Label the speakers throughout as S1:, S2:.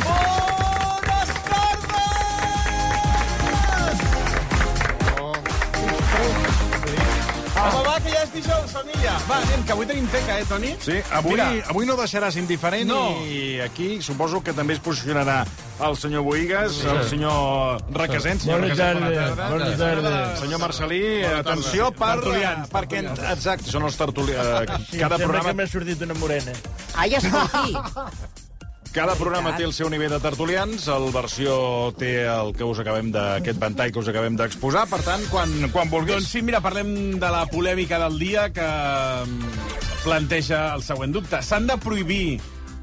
S1: Bones tardes! Oh, Home, va, que ja és dijous, família. Va, anem, que avui tenim teca, eh, Toni?
S2: Sí, avui,
S1: Mira,
S2: avui no deixaràs indiferent
S1: No.
S2: i aquí suposo que també es posicionarà el senyor Boigas, el senyor Requesens, senyor
S3: Bona
S2: Requesens, bona
S3: tarda,
S2: tarda.
S3: bona tarda.
S2: Senyor Marcelí, atenció per, eh, perquè... Exacte, són els tertulians. eh, Cada
S3: Sembla que
S2: programa,
S3: m'ha sortit una morena.
S4: Ai, escolti,
S2: cada programa té el seu nivell de tertulians, el versió té el que us acabem de, aquest ventall que us acabem d'exposar, per tant, quan, quan vulguis...
S1: Doncs sí, mira, parlem de la polèmica del dia que mm, planteja el següent dubte. S'han de prohibir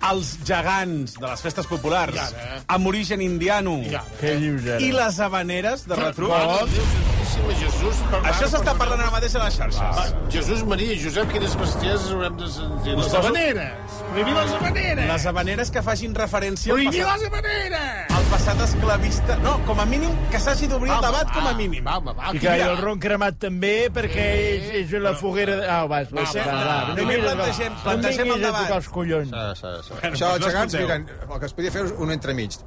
S1: els gegants de les festes populars amb origen indiano
S3: Què dius ara?
S1: Ah, eh? i les habaneres de retruc.
S3: Com?
S5: Jesús, per
S1: Això s'està parlant ara mateix a les xarxes.
S5: Jesús, Maria i Josep, quines bestieses haurem de sentir? Doncs,
S1: Les
S5: habaneres! Prohibir les habaneres!
S1: Les habaneres que facin referència al
S5: Prohibir
S1: passat,
S5: les habaneres!
S1: al passat esclavista... No, com a mínim, que s'hagi d'obrir el debat
S5: ah.
S1: com a mínim.
S5: Va, home, va,
S3: I que
S5: mira,
S3: el ron cremat també, perquè és, és la foguera... De... Ah, vas, vas,
S1: va,
S3: va, va,
S1: va,
S3: va.
S1: va.
S3: No
S1: Primer
S3: vinguis a-
S1: plantegem-
S3: no
S1: plantegem el
S3: vinguis a
S1: debat. Ah,
S3: tocar els collons.
S6: Això
S5: doncs
S6: dels
S1: Doncs no
S6: gegants,
S1: escolteu.
S6: miren, el que es podia fer és un entremig.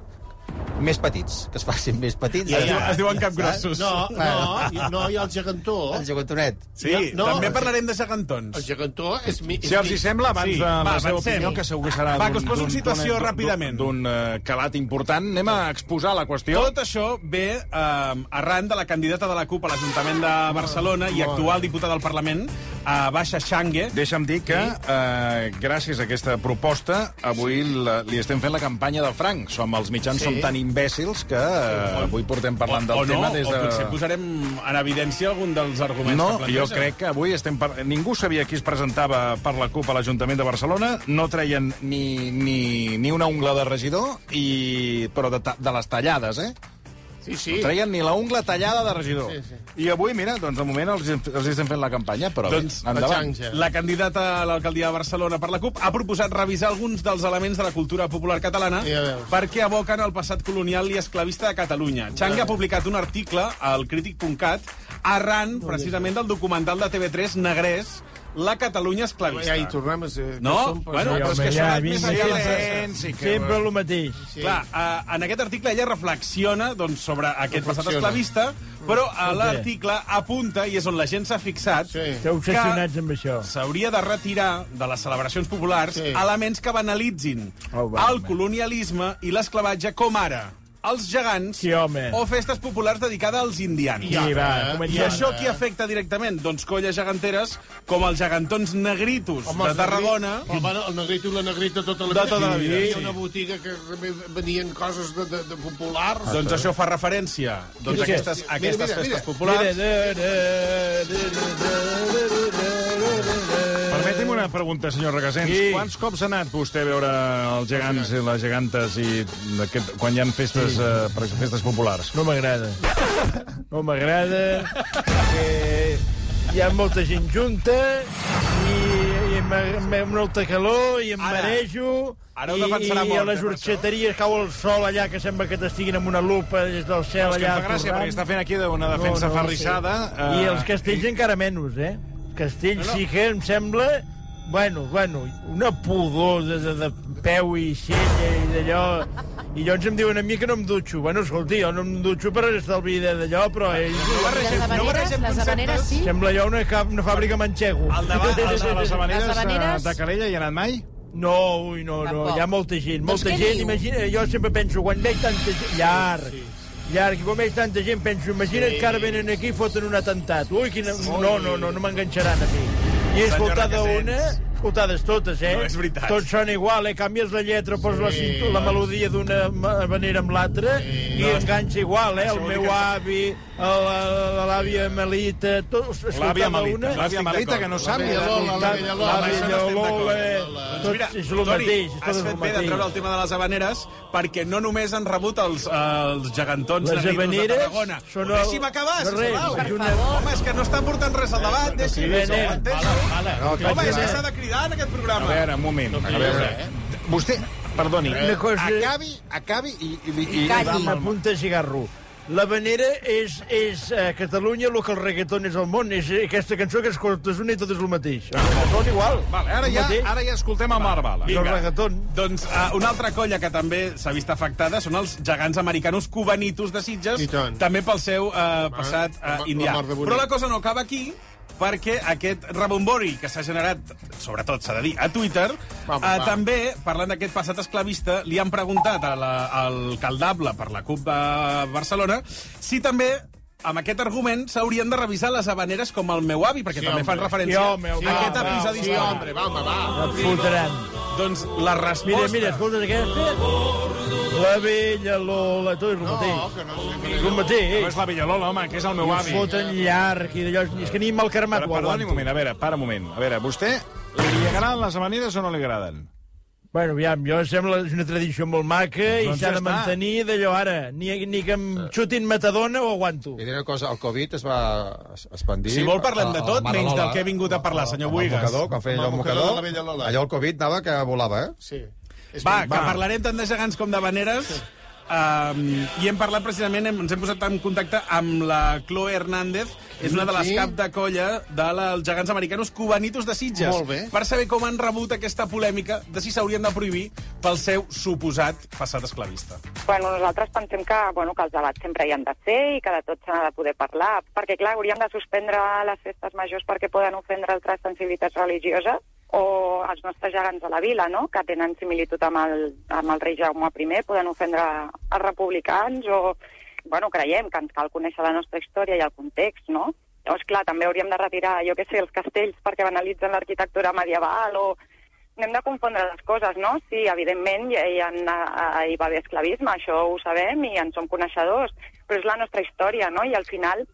S6: Més petits, que es facin més petits.
S1: Es, diu, es diuen capgrossos.
S5: No, no, i- no, i el gegantó...
S6: El gegantonet.
S1: Sí,
S5: No.
S1: també parlarem de
S5: El
S1: gegantons.
S5: gegantó és... Mi, és
S2: Si els hi
S5: mi-
S2: sembla,
S1: Doncs Sí,
S2: abans sí, de la
S1: va,
S2: seva
S1: avancem.
S2: opinió, que segur que serà
S1: Va,
S2: d'un-
S1: que us poso en
S2: d'un-
S1: situació
S2: d'un-
S1: ràpidament.
S2: d'un eh, calat important, anem a exposar la qüestió.
S1: Tot això ve eh, arran de la candidata de la CUP a l'Ajuntament de Barcelona i actual diputada del Parlament, eh, Baixa Xangue.
S2: Deixa'm dir que, eh, gràcies a aquesta proposta, avui la, li estem fent la campanya de Frank. Som els mitjans, sí. som tan imbècils que eh, avui portem parlant del
S1: o no,
S2: tema des de...
S1: o potser posarem en evidència algun dels arguments
S2: No,
S1: que
S2: jo
S1: planteja.
S2: crec que avui estem... Par... Ningú sabia qui es presentava per la CUP a l'Ajuntament de Barcelona, no treien ni, ni, ni una ungla de regidor, i... però de, ta... de les tallades, eh?
S5: Sí, sí.
S2: No treien ni la ungla tallada de regidor.
S5: Sí,
S2: Sí, sí. I avui, mira, doncs de moment els, els estem fent la campanya, però
S1: Doncs,
S2: bé, endavant.
S5: Xanxa.
S1: La candidata a l'alcaldia de Barcelona per la CUP ha proposat revisar alguns dels elements de la cultura popular catalana
S5: Ja veus.
S1: perquè aboquen el passat colonial i esclavista de Catalunya. Chang ha publicat un article al crític.cat arran precisament del documental de TV3 Negrés, La Catalunya esclavista.
S5: Ja hi tornem a ser...
S1: No?
S5: som per-
S1: Bueno,
S3: Ja,
S1: però és que
S3: home,
S1: això
S3: ja,
S1: ha anat més
S3: vinga,
S1: enllà
S3: ja,
S1: de-
S2: sí que-
S3: Sempre el mateix.
S1: Sí. Clar, eh, en aquest article ella reflexiona doncs, sobre aquest passat
S5: Reflexiona.
S1: esclavista, però a l'article apunta, i és on la gent s'ha fixat,
S5: Sí.
S3: Esteu obsessionats amb això.
S1: s'hauria de retirar de les celebracions populars
S5: Sí.
S1: sí. elements que banalitzin
S3: Oh,
S1: oh,
S3: va,
S1: el colonialisme i l'esclavatge, com ara els gegants
S3: Sí, home.
S1: o festes populars dedicades als indians.
S3: Sí, va,
S5: eh?
S1: I
S3: comencem.
S1: això qui afecta directament? Doncs colles geganteres com els gegantons negritos
S5: Home,
S1: de
S5: els
S1: Tarragona.
S5: negri- Però, bueno, el negrito i la negrita tota
S1: De
S5: la vida.
S1: tota la vida,
S5: Hi
S1: sí.
S5: havia una botiga que també venien coses de, de, de populars.
S1: Doncs això fa referència doncs,
S3: Mira,
S1: a aquestes, a
S5: mira,
S1: aquestes
S5: mira,
S1: festes
S5: mira.
S1: populars.
S2: Permeti'm una pregunta, senyor Regasens. Sí.
S3: Sí.
S2: Quants cops ha anat vostè a veure els gegants i les gegantes i aquest, quan hi ha festes, sí. eh, per exemple, festes populars?
S3: No m'agrada. No m'agrada. Eh, hi ha molta gent junta i, i m'ag- m'ha molta calor i em
S1: Ara.
S3: marejo.
S1: Ara ho
S3: i,
S1: defensarà
S3: i
S1: molt,
S3: a les
S1: eh, per
S3: orxateries cau el sol allà, que sembla que t'estiguin amb una lupa des del cel
S2: És que
S3: allà.
S2: em fa gràcia,
S3: torrant.
S2: perquè està fent aquí una defensa eh, no, no, ferrissada.
S3: Sí.
S1: Ah,
S3: I els castells encara menys, eh? Els castells sí que em sembla... Bueno, bueno, una pudor de, de, de peu i cella i d'allò... I llavors em diuen a mi que no em dutxo. Bueno, escolti, jo no em dutxo per estalvi de d'allò, però ells...
S1: barregem-
S4: les habaneres,
S1: barregem
S4: les habaneres sí.
S3: Sembla jo una, cap, una fàbrica manxego.
S1: Al davant,
S2: A les, a les habaneres,
S4: Les habaneres?
S2: eh, de Calella hi ha anat mai?
S3: No, ui, no, no,
S4: Tampoc.
S3: hi ha molta gent,
S4: Doncs
S3: molta
S4: què
S3: gent,
S4: diu?
S3: imagina, jo sempre penso, quan veig tanta gent, llarg, sí, sí. llarg, i quan veig tanta gent, penso, imagina't que ara venen aquí i foten un atemptat, ui, quina... no, no, no, no m'enganxaran a mi. I he escoltat
S1: Requesens.
S3: una, escoltades totes, eh?
S1: No, és veritat.
S3: Tots són igual, eh? Canvies la lletra, poses la, cintu, la melodia d'una ma- manera amb l'altra i enganxa igual, eh? El meu avi, a la- a l'àvia Melita, tots
S2: L'àvia
S3: escoltava
S2: Malita.
S3: una...
S2: L'àvia Malita, que no sap.
S5: L'àvia Lola, l'àvia Lola.
S3: L'àvia Lola, eh,
S1: Doncs Mira,
S3: tots és el
S1: Toni,
S3: mateix. és tot
S1: has
S3: el
S1: fet bé de
S3: mateix.
S1: treure el tema de les habaneres perquè no només han rebut els, eh, els gegantons negritos
S3: Les
S1: de
S3: habaneres
S1: Tarragona.
S3: són
S1: Ho Deixi'm
S3: el-
S1: acabar,
S3: no res,
S1: sisplau.
S3: és una-
S1: Home, és que no està portant res al debat, deixi'm.
S3: criden, eh?
S2: No,
S1: Home, és que s'ha de cridar en aquest
S2: A
S1: programa.
S2: veure, un moment. A veure. Vostè, perdoni,
S3: Una cosa...
S2: acabi, acabi i... i, i,
S4: Calli.
S3: Una punta de cigarro. L'habanera és, és a Catalunya el que el reggaeton és al món. És aquesta cançó que escoltes una i tot és el mateix. Són igual.
S2: Vale, ara,
S3: El
S2: ja,
S3: mateix.
S2: ara ja escoltem a Marbala.
S3: Vinga. El reggaeton.
S1: Doncs uh, una altra colla que també s'ha vist afectada són els gegants americanos cubanitos de Sitges,
S5: I tant.
S1: també pel seu uh, passat
S5: la
S1: uh,
S5: mort
S1: indià.
S5: de bonic.
S1: Però la cosa no acaba aquí, perquè aquest rebombori que s'ha generat, sobretot s'ha de dir, a Twitter, uh,
S5: va.
S1: també, parlant d'aquest passat esclavista, li han preguntat a la, al caldable per la CUP de Barcelona si també amb aquest argument s'haurien de revisar les habaneres com el meu avi, perquè
S5: Sí,
S1: també fan
S5: home.
S1: referència
S3: Sí, home, home,
S1: a aquest
S3: home,
S1: episodi
S5: Sí,
S1: històric.
S5: hombre, Ah, va, home, va.
S3: Et fotran.
S1: Doncs la resposta...
S3: Mira, mira, escolta aquesta. La vella Lola, tot és el
S5: No,
S3: mateix.
S5: que no...
S3: És el
S2: No
S3: mateix.
S2: és la Villalola, home, que és el meu
S3: Ho
S2: avi.
S3: foten llarg i d'allò... És que ni mal carmat
S2: Però,
S3: ho
S2: perdoni un
S3: aguanto.
S2: moment, a veure, para un moment. A veure, vostè, li agraden les amanides o no li agraden?
S3: Bueno, aviam, jo em sembla és una tradició molt maca i
S2: Doncs
S3: s'ha
S2: ja
S3: de
S2: està.
S3: mantenir d'allò ara. Ni, ni que em
S1: Eh.
S3: xutin Matadona ho aguanto.
S6: I diré una cosa, el Covid es va es- expandir...
S1: Si vol parlem
S6: a-
S1: de
S6: a
S1: tot,
S6: Mare
S1: menys
S6: Lola,
S1: del que he vingut a parlar, senyor
S6: amb el
S1: Buigas.
S6: mocador, Quan feia allò
S5: Amb
S6: el
S5: el mocador de la vella
S6: mocador,
S5: Lola.
S6: allò el Covid anava que volava, eh?
S5: Sí. És
S1: Va,
S5: veritat.
S1: que parlarem tant de gegants com d'habaneres. Um, I hem parlat precisament, hem, ens hem posat en contacte amb la Chloe Hernández, és una de les
S5: Sí.
S1: cap de colla dels gegants americanos cubanitos de Sitges,
S5: Molt bé.
S1: per saber com han rebut aquesta polèmica de si s'haurien de prohibir pel seu suposat passat esclavista.
S7: Bueno, nosaltres pensem que, bueno, que els debats sempre hi han de ser i que de tot s'ha de poder parlar, perquè, clar, hauríem de suspendre les festes majors perquè poden ofendre altres sensibilitats religioses o els nostres gegants de la vila, no?, que tenen similitud amb el, amb el rei Jaume I, poden ofendre els republicans o... Bueno, creiem que ens cal conèixer la nostra història i el context, no? Llavors, clar, també hauríem de retirar, jo què sé, els castells perquè banalitzen l'arquitectura medieval o no hem de confondre les coses, no? Sí, evidentment, hi, hi, ha, hi va haver esclavisme, això ho sabem i en som coneixedors, però és la nostra història, no? I al final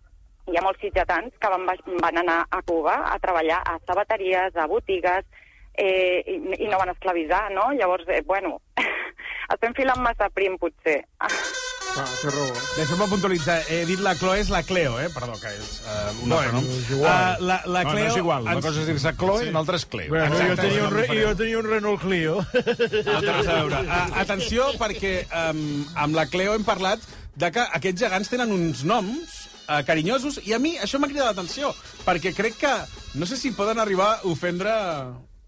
S7: hi ha molts sitjatans que van, baix- van anar a Cuba a treballar a sabateries, a botigues, eh, i, i no van esclavitzar, no? Llavors, eh, bueno, estem filant massa prim, potser.
S5: Va, té raó.
S1: Deixeu-me puntualitzar. He dit la Chloe és la Cleo, eh? Perdó, que és uh, un altre
S2: Bueno,
S1: nom.
S2: és igual.
S1: Eh, la, la
S2: No,
S1: Cleo...
S2: no és igual. Una
S1: ens-
S2: cosa és dir-se Chloe i l'altra és Cleo.
S3: Bueno,
S1: Exacte,
S3: jo, tenia
S1: és
S3: un,
S1: molt
S3: re,
S1: diferent.
S3: jo tenia un Renault Clio.
S1: No té res a veure. A, atenció, perquè um, amb la Cleo hem parlat de que aquests gegants tenen uns noms uh, carinyosos, i a mi això m'ha cridat l'atenció, perquè crec que, no sé si poden arribar a ofendre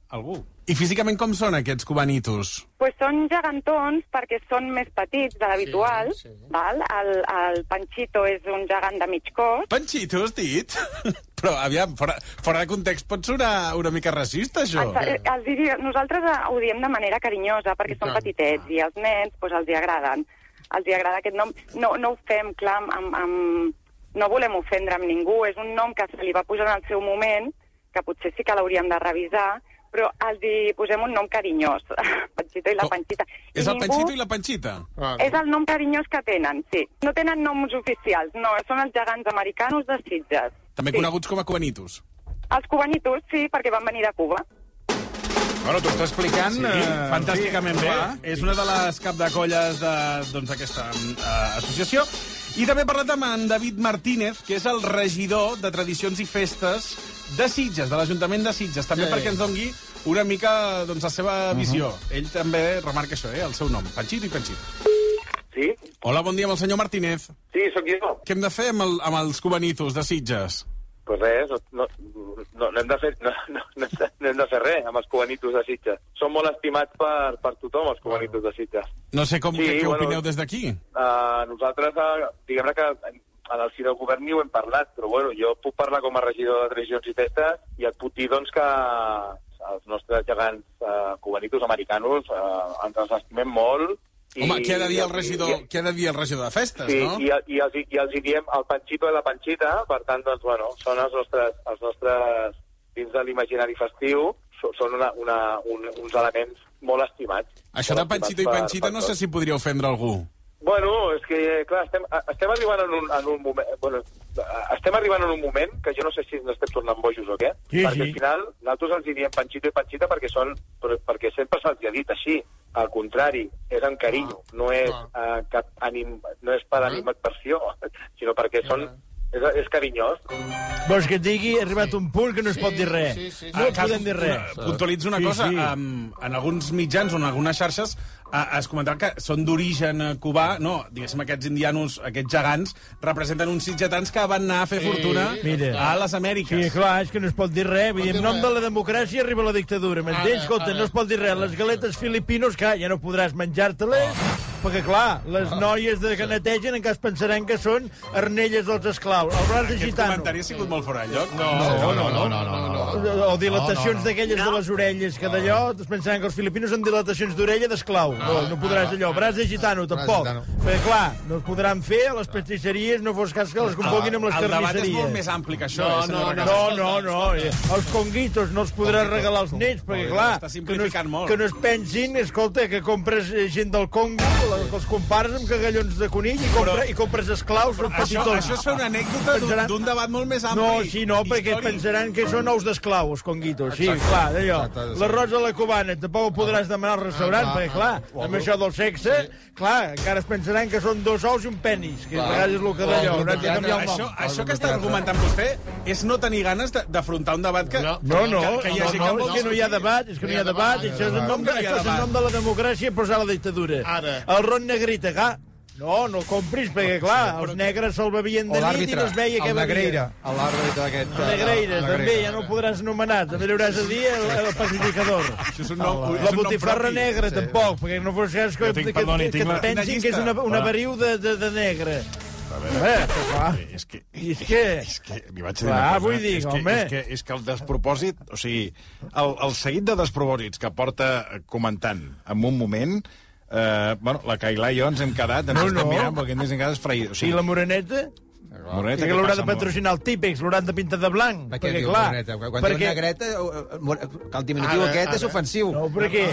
S1: algú. I físicament com són aquests cubanitos?
S7: Pues són gegantons perquè són més petits de l'habitual,
S5: Sí,
S7: sí,
S5: sí.
S7: sí. val? El, el Panchito és un gegant de mig cos,
S1: Panxito, has dit? Però, aviam, fora, fora de context pot sonar una mica racista, això.
S7: Ens- eh, Els diria, nosaltres eh, ho diem de manera carinyosa, perquè són petitets, i als nens doncs, els hi agraden. Els hi agrada aquest nom. No, no ho fem, clar, amb, amb, amb... no volem ofendre amb ningú, és un nom que se li va posar en el seu moment, que potser sí que l'hauríem de revisar, però els hi posem un nom carinyós, Panchito i la
S1: Com?
S7: Panchita.
S1: És el Panxito i la Panxita?
S5: Ah,
S7: És el nom carinyós que tenen, sí. No tenen noms oficials, no, són els gegants americanos de Sitges.
S1: També
S7: sí.
S1: coneguts com a cubanitos.
S7: Els cubanitos, sí, perquè van venir de Cuba.
S2: Bueno, t'ho està explicant...
S1: Sí, fantàsticament bé. És una de les capdecolles d'aquesta doncs, aquesta, eh, associació. I també he parlat amb en David Martínez, que és el regidor de Tradicions i Festes de Sitges, de l'Ajuntament de Sitges, també
S5: Sí.
S1: perquè ens dongui una mica doncs, la seva visió. Ell també remarca això, eh, el seu nom, Panxito i Panxito.
S8: Sí?
S1: Hola, bon dia amb el senyor Martínez.
S8: Sí, sóc jo.
S1: Què hem de fer amb, el, amb els cubanitos de Sitges?
S8: Pues res, no, no, no, hem de fer, no, no, no, hem de- no hem de fer res amb els cubanitos de Sitges. Són molt estimats per, per tothom, els cubanitos de Sitges.
S1: No sé com,
S8: Sí,
S1: què, què
S8: bueno.
S1: opineu des d'aquí.
S8: Uh, nosaltres, uh, diguem-ne que en el si del govern ni ho hem parlat, però bueno, jo puc parlar com a regidor de Tradicions i Festes i et puc dir doncs, que els nostres gegants uh, cubanitos americanos uh, ens els estimem molt. i-
S1: Home, què ha de dir el
S8: i-
S1: regidor,
S8: i-
S1: què ha de dir el regidor de festes,
S8: Sí,
S1: no?
S8: i, i, els, i els hi diem el panxito i la panxita, per tant, doncs, bueno, són els nostres, els nostres dins de l'imaginari festiu, so- són una, una, un, uns elements molt estimats.
S1: Això de
S8: Molt estimats
S1: Panxito i
S8: per-
S1: Panxita
S8: per
S1: no sé
S8: tots.
S1: si podria ofendre algú.
S8: Bueno, és que, clar, estem, a- estem arribant en un, en un moment... Bueno, a- estem arribant en un moment que jo no sé si ens estem tornant bojos o què,
S3: Sí,
S8: perquè
S3: sí.
S8: al final nosaltres els hi diem Panchito i Panchita perquè, són, per- perquè sempre se'ls hi ha dit així. Al contrari, és en carinyo, no és, eh, cap anim, no és per animadversió, sinó perquè són, és, és carinyós.
S3: Vols que et digui? Ha arribat un punt que no es pot dir res.
S5: sí, sí, sí.
S3: No podem dir res.
S1: Ah, Puntualitzo una
S3: Sí,
S1: cosa.
S3: sí.
S1: em, en alguns mitjans o en algunes xarxes eh, es comentava que són d'origen eh, cubà. No, diguéssim, aquests indianos, aquests gegants, representen uns sitgetans que van anar a fer fortuna
S3: mira.
S1: a les Amèriques.
S3: Sí, clar, és que no es pot dir res. Vull dir, en
S5: dir
S3: nom
S5: res.
S3: de la democràcia arriba la dictadura, m'entens?
S5: Ara,
S3: Escolta,
S5: ara.
S3: no es pot dir res. Les galetes filipinos, clar, ja no podràs menjar-te-les,
S1: Oh.
S3: perquè, clar, les noies de que netegen en cas pensaran que són arnelles dels esclaus, el braç de
S1: Aquest
S3: gitano.
S1: comentari ha sigut molt fora de lloc.
S5: No, no, no, no, no, no.
S3: O dilatacions d'aquelles de les orelles, que d'allò es pensaran que els filipinos són dilatacions d'orella d'esclau. No, no podràs allò. Braç de gitano,
S6: Braç de
S3: tampoc.
S6: gitano.
S3: Perquè, clar, no es podran fer a les pastisseries, no fos cas que les convoquin amb les
S1: El debat és molt
S3: carnisseries.
S1: més ampli que això, eh,
S3: No,
S1: senyora Casas.
S3: no, no, no. eh, Els conguitos no els podràs regalar als nets, perquè,
S1: Està
S3: clar, que no, es,
S1: simplificant molt.
S3: que no es pensin, escolta, que compres eh, gent del Congo, la- que els compares amb cagallons de conill i, compra, i compres esclaus o
S1: Això,
S3: petitons.
S1: això és fer una anècdota d'un- d'un debat molt més ampli.
S3: No, sí, no, perquè
S1: històric.
S3: pensaran que són ous d'esclau, els conguitos. Sí, clar, d'allò.
S6: Exacte, sí.
S3: L'arròs a la cubana tampoc ho podràs demanar al restaurant,
S6: Ah,
S3: perquè, clar,
S6: clar, ah,
S3: amb això del sexe, clar, encara es pensaran que són dos ous i un penis, que a vegades és el que d'allò,
S6: Clar,
S3: hauràs de canviar el
S1: Això,
S3: nom.
S1: això que està argumentant vostè és no tenir ganes de- d'afrontar un debat que...
S3: No, no,
S1: que, que hi ha gent
S3: no,
S1: que
S3: no,
S1: vol
S3: és que no hi ha debat, és que no hi ha debat, això és en nom
S1: No
S3: de,
S1: hi ha
S3: això és en
S1: debat.
S3: nom de la democràcia posar la dictadura.
S5: Ara.
S3: El ron negrita, clar, no, no compris, perquè, clar, els negres se'l bevien
S6: O
S3: de nit i
S6: l'àrbitre,
S3: no es veia què
S6: el Negreira,
S3: bevien.
S6: l'àrbitre d'aquest...
S3: El Negreira, també, ja no el podràs nomenar, també li hauràs de dir el, el pacificador.
S1: Això és un nom, és
S3: La
S1: un nom
S3: botifarra
S1: propi.
S3: negra, tampoc, perquè no fos cas que,
S2: Jo tinc-
S3: que,
S2: perdoni,
S3: que,
S2: tinc
S3: que
S2: la-
S3: et pensin que és una, una variu de, de, de negre. A veure,
S2: Ah, És que...
S3: I és que...
S2: És que li vaig dir
S3: Clar,
S2: una cosa.
S3: vull dir,
S2: és que,
S3: home.
S2: És que, és que el despropòsit, o sigui, el, el seguit de despropòsits que porta comentant en un moment... Eh, bueno, la Cailà i jo ens hem quedat, ens
S3: No,
S2: no, estem
S3: no.
S2: mirant, perquè ens hem quedat freïdos. O
S3: I
S2: sigui,
S3: la moreneta?
S2: Moreneta,
S3: que
S2: què
S3: l'haurà
S2: passa
S3: de
S2: amb la-
S3: patrocinar el típex, l'hauran de pintar de blanc.
S6: Per què diu moreta? Quan perquè... diu negreta, eh, eh, more- que el diminutiu
S5: Ara,
S6: aquest és
S5: ara.
S6: ofensiu.
S3: No, però què?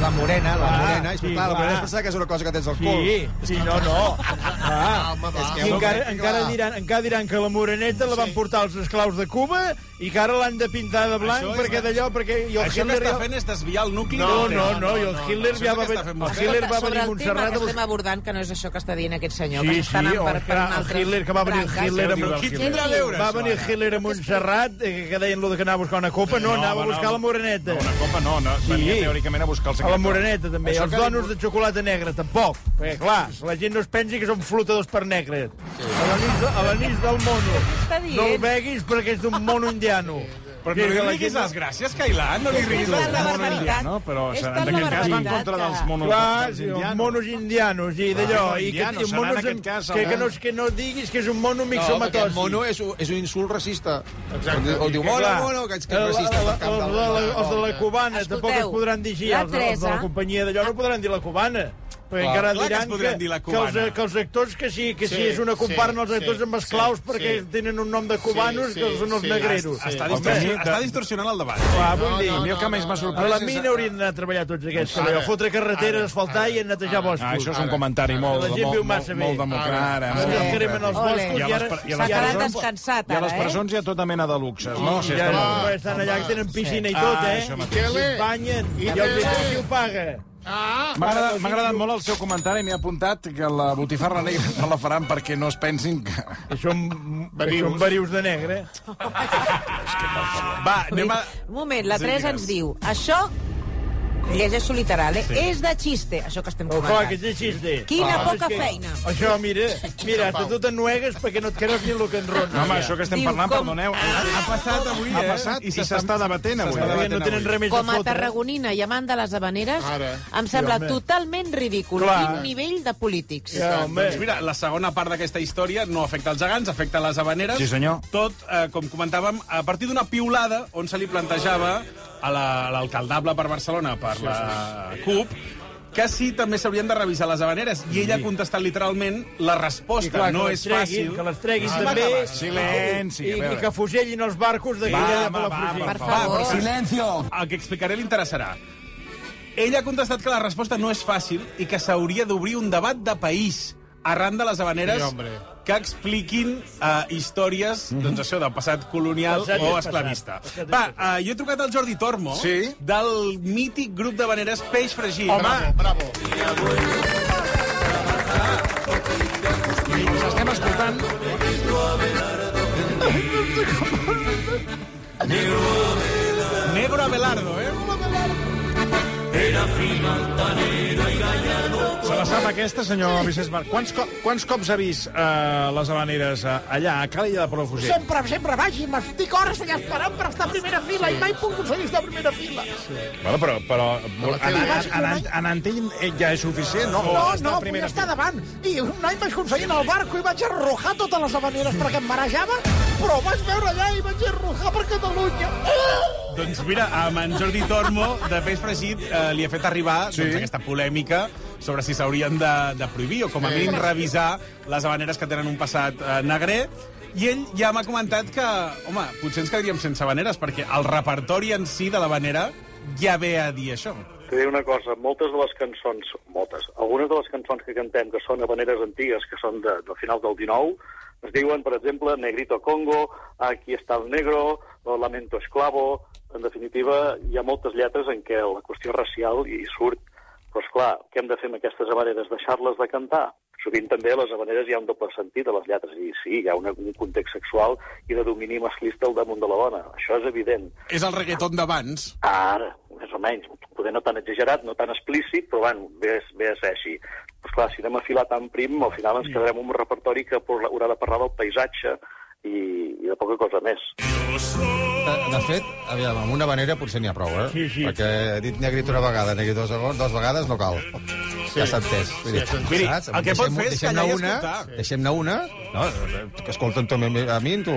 S6: La morena, la morena, la
S3: Ah,
S6: morena. és,
S3: sí,
S6: clar, la morena
S3: clar.
S6: es pensarà que és una cosa que tens al cul.
S3: Sí, sí, no, no. Ah,
S5: Home, va.
S6: És que
S3: I
S6: ho
S3: encara,
S6: crec,
S3: encara,
S6: clar.
S3: diran, encara diran que la moreneta la van portar els esclaus de Cuba i que ara l'han de pintar de blanc
S1: Això és-
S3: perquè d'allò... Perquè, I el
S1: Això que
S3: Hitler...
S1: està fent és desviar el nucli.
S3: No,
S1: del
S3: no,
S1: tema.
S3: no, i el Hitler
S1: Això és
S3: ja
S1: el
S3: va...
S1: que està
S3: venir-
S1: fent
S3: El
S1: vostè.
S3: Hitler va
S4: Sobre
S3: venir a
S4: el tema
S3: Montserrat...
S4: que
S3: a
S4: estem abordant, que no és això que està dient aquest senyor, que
S3: Sí,
S4: està
S3: sí,
S4: anant
S3: o
S4: per, per
S3: clar,
S4: un
S3: el
S4: altre...
S3: Hitler que va venir el
S4: branques.
S3: Hitler amb-
S1: Qui tindrà a veure,
S3: Va
S1: això,
S3: venir
S1: ara?
S3: Hitler a Montserrat, eh, que deien lo de que anava a buscar una copa. No, anava a buscar la moreneta.
S2: No, una copa no, no sí. venia teòricament a buscar el
S3: A
S2: secretari.
S3: la moreneta, també.
S6: Això
S3: Això els
S6: que li-
S3: donos de xocolata negra, tampoc. Perquè, clar, la gent no es pensi que són flotadors per negre. A l'anís de- A l'anís del mono.
S4: està dient?
S3: No el beguis perquè és d'un mono indiano.
S1: Però no
S3: Que
S1: li
S3: la
S1: riguis
S3: gent-
S1: les gràcies, Cailà, no li riguis
S4: Clar,
S1: les
S4: la
S1: gràcies.
S4: barbaritat.
S2: No, però
S4: És
S2: en
S4: per la
S2: aquest cas va en
S4: barbaritat,
S2: contra dels
S4: que-
S2: monos,
S3: Clar,
S2: dels
S3: sí, els
S2: indianos.
S3: monos indianos, i d'allò.
S2: Clar,
S3: I que,
S2: indianos,
S3: i
S2: serà en
S3: monos
S2: aquest
S3: amb-
S2: cas,
S3: que, que,
S2: serà.
S3: no, que no diguis que és un mono
S6: No,
S3: mixomatòsic.
S6: perquè el mono és, un- és un insult racista. Exacte. O diu
S3: Que,
S6: mono,
S3: clar, Eh,
S6: mono, que és que
S3: el-
S6: és racista.
S3: el-
S6: per cap
S3: els
S6: del-
S3: de la- Els de la cubana
S4: Escolteu,
S3: tampoc es podran dir així.
S4: la
S3: Els de- els de la
S4: Teresa-
S3: companyia d'allò no podran dir la cubana. Perquè
S6: Clar,
S3: encara
S1: clar que es
S3: diran
S1: podran
S3: que,
S1: dir la
S3: que, els,
S1: cubana.
S3: que els actors, que sí, que sí,
S5: Sí,
S3: és una
S5: sí,
S3: comparen els
S5: sí,
S3: actors amb
S5: sí,
S3: esclaus
S5: sí.
S3: perquè tenen un nom de cubanos
S5: Sí,
S3: que els són els
S5: sí,
S3: negreros.
S5: sí.
S1: Està,
S5: Home,
S1: distorsionant,
S2: de-
S1: està distorsionant el debat.
S3: Clar, vull dir,
S2: A mi el que més m'ha
S3: a
S2: sorprès...
S3: la
S2: és-
S3: mina haurien d'anar a treballar tots aquests,
S5: Ara,
S3: a fotre carreteres, asfaltar i a netejar boscos.
S2: Ah, això és un comentari molt,
S3: La gent
S2: molt, molt,
S3: viu massa
S2: molt
S3: bé.
S2: democrat.
S5: Ara.
S2: molt
S3: Ara,
S2: democràtic.
S3: cremen els
S4: Ole.
S3: boscos
S2: I a
S3: i
S2: les
S3: ara...
S2: per- i a
S3: i
S2: les
S4: S'ha quedat
S2: presons-
S4: descansat,
S2: I a
S4: ara,
S2: les
S4: eh?
S2: presons hi ha tota mena de luxes, no? Si
S3: I
S2: estan
S3: ara,
S2: molt bé.
S3: estan allà que tenen piscina i
S2: Ah,
S3: tot, eh?
S2: això mateix.
S5: I tele.
S3: es banyen. I
S5: I
S3: el
S5: tele.
S3: bitllet qui ho paga?
S5: Ah,
S2: M'ha agradat, m'ha agradat molt el seu comentari, m'he apuntat que la botifarra negra no la faran perquè no es pensin que...
S3: Que són, que
S5: Verius.
S3: són verius de negre.
S1: Va, anem a...
S4: Un moment, la Teresa ens diu, això, llegeixo literal, eh? És de xiste, això que estem
S3: Oh, clar, que
S4: comentant.
S3: és de xiste.
S4: Quina
S3: Ah,
S4: poca
S3: és que-
S4: feina.
S3: Això, mira, mira, hasta tu t'ennuegues perquè no et creus ni el que enrona.
S2: No, home, això que estem
S4: Diu,
S2: parlant,
S4: com-
S2: perdoneu,
S1: Ha passat avui, eh?
S2: ha passat i s'està debatent avui.
S1: s'està
S3: Perquè no tenen res més
S4: Com
S3: a
S4: a
S3: fotre.
S4: tarragonina i amant de les habaneres,
S5: Ara.
S4: em sembla
S3: home.
S4: totalment ridícul.
S3: Clar.
S4: Quin nivell de polítics.
S3: Ja, home.
S1: Doncs mira, la segona part d'aquesta història no afecta els gegants, afecta les habaneres.
S2: Sí, senyor.
S1: Tot, eh, com comentàvem, a partir d'una piulada on se li plantejava a la- a l'alcaldable per Barcelona, per la CUP, que sí, també s'haurien de revisar les habaneres. I ella ha contestat literalment la resposta.
S3: I clar,
S1: no
S3: que
S1: és
S3: les treguin,
S1: fàcil.
S3: que les treguin
S1: Ah,
S3: també.
S1: va, va,
S2: Silenci,
S3: I,
S2: a
S3: i
S2: veure.
S3: que fusellin els barcos d'aquella de
S2: va, va,
S3: Palafrugell.
S4: Per
S1: Va,
S4: favor.
S1: però el que explicaré li interessarà. Ell ha contestat que la resposta no és fàcil i que s'hauria d'obrir un debat de país arran de les habaneres
S5: Sí, hombre.
S1: que expliquin uh, històries doncs això, del passat colonial
S3: Passat
S1: o
S3: és
S1: esclavista.
S3: passat. Passat és
S1: Va, uh, jo he trucat al Jordi Tormo
S2: Sí?
S1: del mític grup d'habaneres Peix Fregit.
S5: Bravo, bravo.
S2: I us estem escoltant...
S1: Negro Abelardo, eh?
S2: Se la sap aquesta, senyor Vicenç Marc. Quants, co quants cops ha vist eh, les habaneres eh, allà, a Càlia de Palafrugell?
S9: Sempre, sempre vaig i m'estic hores allà esperant per estar a primera fila i mai puc aconseguir estar a primera fila.
S2: Bueno, però, però
S5: la tele.
S2: anant- anant- anant ell eh, ja és suficient, no?
S9: No,
S2: Estar
S9: no,
S2: a
S9: vull
S2: primera
S9: estar
S2: fila.
S9: davant. I un any vaig aconseguir anar al barco i vaig arrojar totes les avaneres perquè em marejava, però ho vaig veure allà i vaig arrojar per Catalunya. Ah!
S1: Doncs mira, amb en Jordi Tormo, de Peix Fregit, eh, li ha fet arribar sí. doncs, aquesta polèmica sobre si s'haurien de, de prohibir o com a
S5: Sí.
S1: mínim revisar les habaneres que tenen un passat eh, negre. I ell ja m'ha comentat que, home, potser ens quedaríem sense habaneres, perquè el repertori en si de l'habanera ja ve a dir això.
S8: Te diré una cosa, moltes de les cançons, moltes, algunes de les cançons que cantem que són habaneres antigues, que són de, del final del 19, es diuen, per exemple, Negrito Congo, Aquí està el negro, o Lamento esclavo... En definitiva, hi ha moltes lletres en què la qüestió racial hi surt. Però, esclar, què hem de fer amb aquestes habaneres? Deixar-les de cantar? Sovint també a les habaneres hi ha un doble sentit a les lletres. I sí, hi ha una, un context sexual i de domini masclista al damunt de la dona. Això és evident.
S1: És el reggaeton d'abans.
S8: Ara, més o menys, poder no tan exagerat, no tan explícit, però bueno, bé, és- bé és així. Però clar, si anem a filar tan prim, al final
S5: Mm.
S8: ens quedarem amb un repertori que por- haurà de parlar del paisatge i, i de poca cosa més.
S6: De, de fet, aviam, amb una vanera potser n'hi ha prou, eh?
S3: Sí, sí.
S6: Perquè he dit negrito una vegada, negrito dos, vegades, dues vegegades, no cal. Sí. Ja s'ha entès. Vull dir,
S5: ja s'ha entès.
S1: Miri,
S6: saps?
S1: el que pot
S6: Deixem-ho-
S1: fer és
S6: deixem-ne
S1: callar i
S6: una,
S1: escoltar.
S6: Deixem-ne una, no, que escolten també a mi, tu,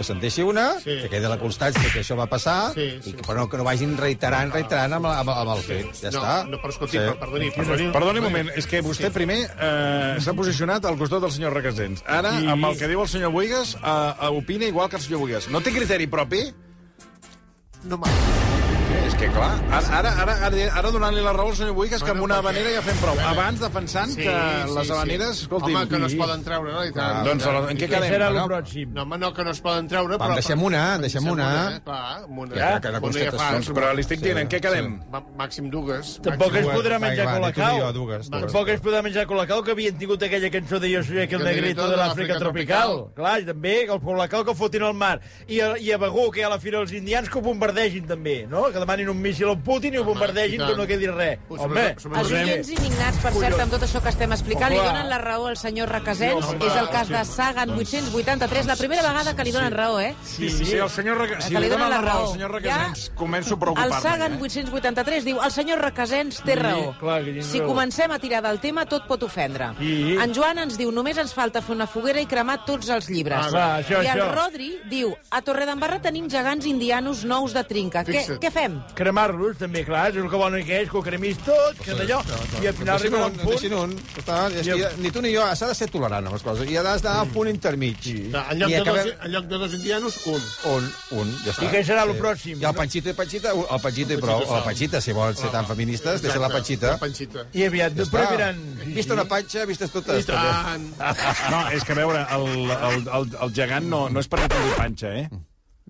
S6: que se'n deixi una, sí.
S5: Sí.
S6: que quedi la constància que això va passar,
S5: Sí, sí.
S6: I, que- però no, que no vagin reiterant, reiterant amb, amb, amb el fet. Ja
S5: no,
S6: està.
S5: No, però escolti, sí. perdoni, perdoni.
S2: Perdoni un moment, és que vostè primer eh, s'ha posicionat al costat del senyor Requesens. Ara, amb el que diu el senyor Buigas, eh, opina igual que el senyor Buigas. No té criteri propi?
S9: No m'ha...
S2: És que, clar, ara, ara, ara, ara, ara donant-li la raó al senyor Buigas que amb una habanera ja fem prou. Abans defensant que les habaneres... Escolti,
S5: Home, que no es poden treure, no? I tant.
S2: Doncs en què
S3: Què
S2: quedem?
S3: serà el
S2: No?
S3: pròxim?
S5: No, home, no, que no es poden
S6: Va,
S5: treure, però...
S6: en deixem una, en deixem una.
S5: eh? Clar, amb una.
S6: Ja, que era
S5: Una ja fa-
S6: constatació.
S2: Doncs, però li estic dient, en què quedem?
S5: Ma- Màxim dues.
S3: Tampoc es
S6: Dues,
S3: podrà
S6: va,
S3: menjar
S6: va, ni tu ni jo,
S3: colacau.
S6: dues, dues.
S3: Tampoc es podrà menjar colacau, que havien tingut aquella cançó de Jo soy aquel
S5: El
S3: negrito de l'Àfrica tropical.
S5: tropical.
S3: Clar, i també el colacau que fotin al mar. I a, i a Begú, que hi ha la fira dels indians, que ho bombardegin també, no? Que demanin un míssil al Putin i ho
S5: i
S3: bombardegin,
S5: tant.
S3: que no quedi res.
S5: Ui,
S3: Home,
S5: sobretot-
S4: Els
S5: sobretot-
S4: oients indignats, per cert, amb tot això que estem explicant, li
S3: Home.
S4: donen la raó al senyor Requesens. És el cas de
S3: Doncs-
S4: Sagan 883, la primera vegada que li donen raó, eh?
S2: Sí, sí, sí, el senyor Requesens... Si
S4: Que
S2: li
S4: li donen
S2: donen la
S4: la
S2: raó al
S4: raó.
S2: senyor
S4: Ja-
S2: Requesens, començo a
S4: El
S2: preocupar-me.
S4: Sagan
S2: eh?
S4: 883 diu el senyor Requesens té
S3: Sí,
S4: raó.
S3: clar que tens
S4: Si
S3: raó.
S4: comencem a tirar del tema, tot pot ofendre.
S3: Sí.
S4: En Joan ens diu només ens falta fer una foguera i cremar tots els llibres.
S3: Ah, va, això,
S4: I el
S3: això.
S4: Rodri diu a Torredembarra tenim gegants indianos nous de trinca. Què,
S5: Fixa't.
S4: què fem?
S3: Cremar-los, també, clar, és el que volen que és, que ho cremis tot, que d'allò, i al
S6: Deixin
S3: final arriba
S6: un,
S3: un
S6: deixin
S3: punt...
S6: un. Està, és que ja, ni tu ni jo, s'ha de ser tolerant amb les coses. I has d'anar al punt intermig. Sí.
S5: En lloc, de dos, en lloc de dos indianos, un.
S6: Un, un, ja està.
S3: I què serà el pròxim?
S6: Hi ha el Panchito i Panchita, el Panchito i prou. La Panchita, si vols ser tan feministes, deixa la Panchita.
S5: La panxita.
S3: I aviat,
S6: Ja
S3: després
S6: està.
S3: viran...
S6: Vista una panxa, vistes
S5: I
S6: totes. també.
S5: tant.
S2: No, és que a veure, el, el, el, el gegant no, no és perquè tingui panxa, eh?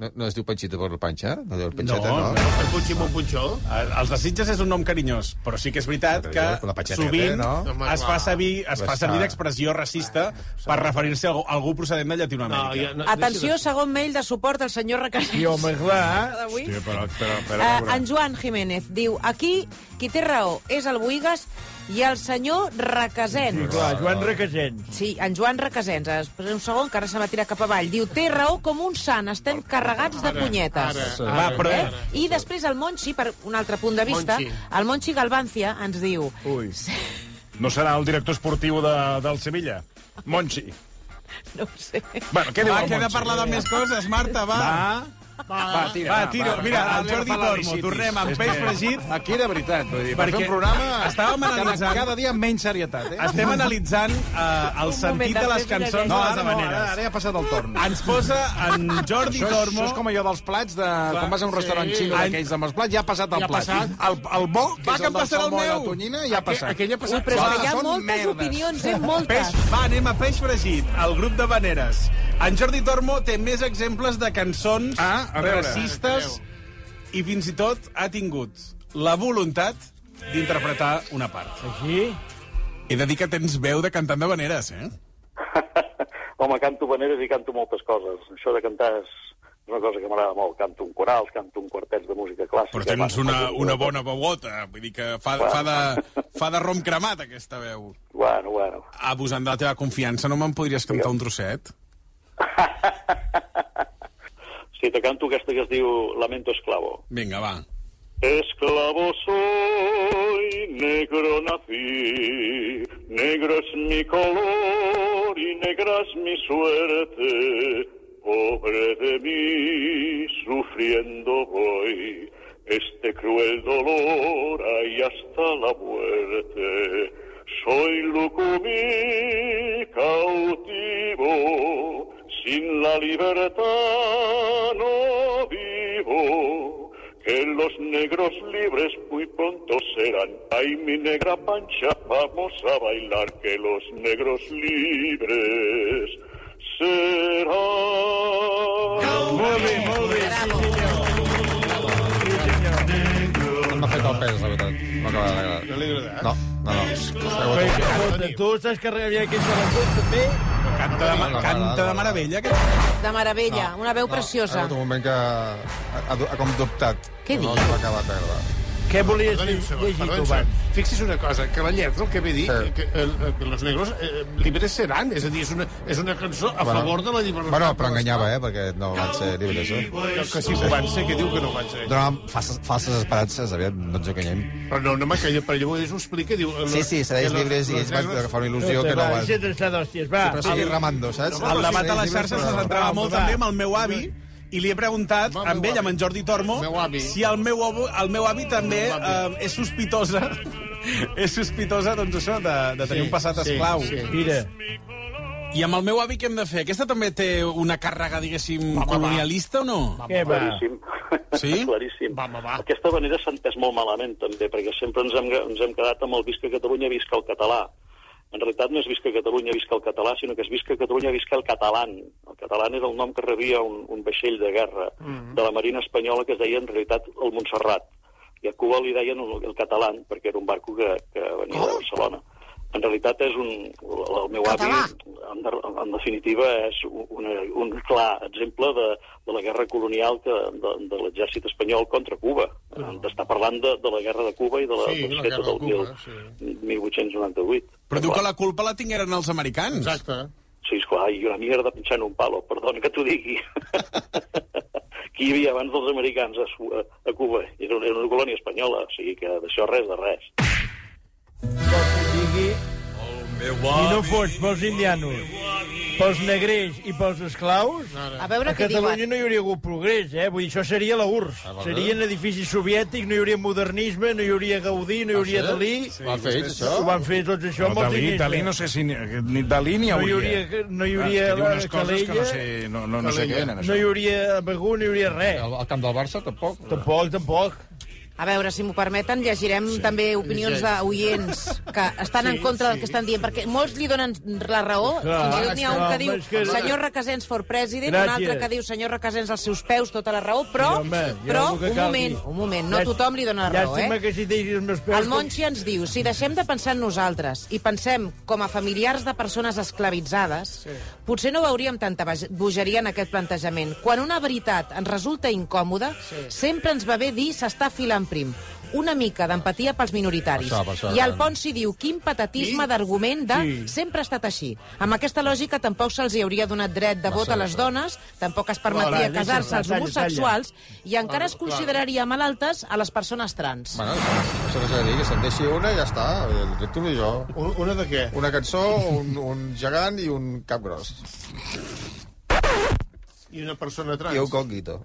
S6: No, no es diu Panchito per la panxa? No diu panxeta,
S1: No,
S6: no?
S5: El punxi amb un punxó.
S1: Eh, Els de Sitges és un nom carinyós, però sí que és veritat
S6: Però
S1: que
S6: ja, la patxeteta,
S1: sovint
S6: no?
S1: no? es fa servir, es fa
S6: Està.
S1: servir d'expressió racista per referir-se a algú, a algú procedent de Llatinoamèrica.
S5: no,
S4: Atenció, segon mail de suport al senyor Requesens.
S3: Sí, home, clar,
S4: D'avui.
S2: Hòstia, però, però, però, a
S4: Eh,
S2: veure.
S4: en Joan Jiménez diu aquí qui té raó és el Buigas i el senyor
S3: sí,
S4: Requesens.
S3: clar, Joan Requesens.
S4: Sí, en Joan Requesens, després un segon, que ara se m'ha tirat cap avall. Diu, té raó com un sant, estem carregats de punyetes.
S5: Ara,
S1: Va,
S5: ara.
S1: però...
S4: Eh? I després el Monchi, per un altre punt de vista,
S5: Monchi.
S4: el Monchi Galvancia ens diu...
S2: Ui. No serà el director esportiu de, del Sevilla? Monchi.
S4: No ho sé.
S2: Bueno, què diu
S1: Va,
S2: el
S1: Ah, que he de
S2: Monchi?
S1: parlar de més coses, Marta, va.
S2: Va,
S1: Va, tira. Va, tira. Mira, el Jordi Tormo, tornem amb peix fregit.
S2: Aquí, de veritat, vull dir, per
S1: Perquè
S2: fer un programa...
S1: estàvem
S2: cada-
S1: analitzant-
S2: Cada dia amb menys serietat, eh?
S1: Estem analitzant eh, el sentit de les cançons de
S2: No,
S1: les
S2: ara, no, ara,
S1: Havaneres.
S2: ara ja ha passat el torn.
S1: Ens posa en Jordi
S2: això és,
S1: Tormo...
S2: Això és com allò dels plats, de,
S6: Ah,
S1: Clar,
S2: quan vas a un
S1: sí.
S2: restaurant xino
S1: Any-
S2: d'aquells amb els plats, ja ha passat el
S1: Ja ha
S2: plat.
S1: passat.
S2: El, el bo, que
S1: Va,
S2: és
S1: que em
S2: el del
S1: passarà el
S2: salmó i la
S1: meu.
S2: tonyina, ja ha
S1: Aquell-
S2: passat.
S1: aquell ha passat.
S4: Ui, però és
S2: Va,
S4: que hi ha
S2: són
S4: moltes
S2: merdes.
S4: opinions, eh? Moltes.
S1: Peix, va, anem a peix fregit, el grup de Vaneres. En Jordi Tormo té més exemples de cançons
S2: Ah, a veure.
S1: racistes i fins i tot ha tingut la voluntat d'interpretar una part.
S3: Així?
S1: He de dir que tens veu de cantant de Vaneres, eh?
S8: Home, canto veneres i canto moltes coses. Això de cantar és és una cosa que m'agrada molt. Canto un corals, canto un quartets de música clàssica.
S1: Però tens
S8: Bueno,
S1: una,
S8: canto-
S1: una bona veuota, vull dir que fa, fa, de, fa de rom cremat, aquesta veu.
S8: Bueno, bueno.
S1: Abusant de la teva confiança, no me'n podries cantar un trosset?
S8: Sí, te canto aquesta que es diu Lamento Esclavo.
S1: Vinga, va.
S8: Esclavo soy, negro nací, negro es mi color y negra es mi suerte. Pobre de mí, sufriendo voy este cruel dolor y hasta la muerte. Soy lucumí cautivo, sin la libertad no vivo que los negros libres muy pronto serán. Ay, mi negra pancha, vamos a bailar, que los negros libres serán.
S3: Molt bé, molt bé.
S6: M'ha fet el pes, la veritat. No acaba d'agradat. No, no, no.
S3: Però,
S6: Esteu a
S3: escolta, tu saps que havia aquells de la Junta, també?
S1: Canta de, ma- canta de meravella, aquest...
S4: De meravella, una veu
S6: Ha
S4: preciosa.
S6: hagut un moment que ha, ha, ha com dubtat.
S4: Què
S6: no,
S4: dius?
S6: No acaba d'agradar.
S3: Què volies
S5: Perdoni un segon,
S3: llegir tu
S5: perdoni un
S3: abans?
S5: segon. Fixi's una cosa, que la lletra el que ve a dir,
S6: Sí.
S5: que, eh, eh, los negros eh, libres seran, és a dir, és una, és una cançó a favor de la llibertat.
S6: Bueno, però enganyava, eh, perquè no van ser llibres, eh?
S5: Que, que sí que ho van ser, que diu que no ho van ser.
S6: Donàvem falses, falses esperances, aviam, no ens enganyem.
S5: Però no, no, home, que per llavors ho explica, diu... eh,
S6: Sí, sí, seràs
S5: que los-
S6: llibres i
S5: los
S6: ells van
S5: negros-
S6: agafar una il·lusió que no
S3: va,
S6: van... Sí,
S3: deixa't estar d'hòsties, va.
S6: però seguir remando, saps?
S1: El debat a la
S6: Seràs
S1: xarxa se
S6: llibres, però-
S1: centrava molt
S3: Va,
S1: també
S3: va.
S1: amb el meu avi i li he preguntat,
S5: Va,
S1: amb
S5: meu
S1: ell, amb
S5: avi.
S1: en Jordi Tormo,
S5: Meu avi.
S1: si el meu avi, el meu avi també
S5: Meu avi.
S1: eh, és sospitosa és sospitosa, doncs això, de, de tenir
S5: Sí,
S1: un passat
S5: sí,
S1: esclau.
S5: sí.
S3: Mira,
S1: I amb el meu avi què hem de fer? Aquesta també té una càrrega, diguéssim,
S5: va, va.
S1: colonialista o no?
S3: què va?
S8: Claríssim.
S1: Sí?
S8: Claríssim.
S5: Va, va, va.
S8: Aquesta manera s'ha entès molt malament, també, perquè sempre ens hem, ens hem quedat amb el visca Catalunya, visca el català. En realitat no és visca Catalunya, visca el català, sinó que és visca Catalunya, visca el catalán. El catalán era el nom que rebia un, un vaixell de guerra mm -hmm. de la Marina Espanyola que es deia, en realitat, el Montserrat. I a Cuba li deien el, el catalán, perquè era un barco que, que venia de Barcelona. En realitat és un... El, el meu
S4: Català.
S8: avi, en, de- en definitiva, és un, un clar exemple de, de la guerra colonial que, de, de l'exèrcit espanyol contra Cuba. Oh. D'estar parlant de, de la guerra de Cuba i de la,
S5: Sí,
S8: dels
S5: la
S8: fets
S5: guerra de
S8: del
S5: Cuba,
S8: mil- 1898.
S1: Però diu que la culpa la tingueren els americans.
S5: Exacte.
S8: Sí, esclar, i una mica de pinxar en un palo, perdona que t'ho digui. Qui hi havia abans dels americans a, Su- a, a Cuba? Era una, era una colònia espanyola, o sigui que d'això res de res.
S3: Vols que et digui... Si no fos pels indianos, pels negrers i pels esclaus,
S4: A veure
S3: a
S4: què
S3: Catalunya
S4: diuen.
S3: no hi hauria hagut progrés, eh? Vull dir, això seria la URSS.
S6: Ah, vale.
S2: eh?
S3: Serien edificis soviètics, no hi hauria modernisme, no hi hauria Gaudí,
S2: Ah,
S3: no hi hauria Dalí.
S6: Sí, Van fer ells, això?
S3: Ho van fer tots això
S2: No,
S3: amb els
S2: Dalí,
S3: diners. eh?
S2: Dalí, no sé si... ni- Ni Dalí ni
S3: No hi
S2: hauria.
S3: hauria, no hi
S2: Ah,
S3: hauria
S2: és que diu
S3: la
S2: unes coses
S3: Calella,
S2: que no sé, no, no, no sé què venen,
S3: no hi
S2: això.
S3: hauria Begú, no hi hauria res.
S6: Al, al camp del Barça, tampoc.
S3: Tampoc, tampoc.
S4: A veure, si m'ho permeten, llegirem també opinions d'oients que estan en contra del que estan dient, perquè molts li donen la raó,
S3: Clar,
S4: fins i tot n'hi ha un
S3: clar,
S4: que diu
S3: és que-
S4: senyor Requesens for president, un
S3: Gràcies.
S4: altre que diu senyor Requesens als seus peus, tota la raó, però,
S3: Sí, home, hi ha
S4: però
S3: algú que
S4: un
S3: calgui.
S4: moment, un moment, no
S3: Llàstima-
S4: tothom li dona la raó, eh?
S3: Llàstima que si deixis els meus peus...
S4: El Monchi ens diu, si deixem de pensar en nosaltres i pensem com a familiars de persones esclavitzades, sí. potser no veuríem tanta baj- bogeria en aquest plantejament. Quan una veritat ens resulta incòmoda, sí. sempre ens va bé dir s'està filant prim. Una mica d'empatia pels minoritaris.
S6: Per això, per això,
S4: I
S6: eh?
S4: el Ponsi diu, quin patatisme d'argument de sí. sempre ha estat així. Amb aquesta lògica tampoc se'ls hi hauria donat dret de vot a les dones, tampoc es permetria
S3: Vale,
S4: casar-se als
S3: deixa-la, talla,
S4: homosexuals i encara es consideraria malaltes a les persones trans.
S6: Bueno, això- això és a dir, que se'n deixi una i ja està. El tu i jo.
S5: Un- Una de què?
S6: Una cançó, un, un gegant i un cap gros.
S5: I una persona trans.
S6: I un conguito.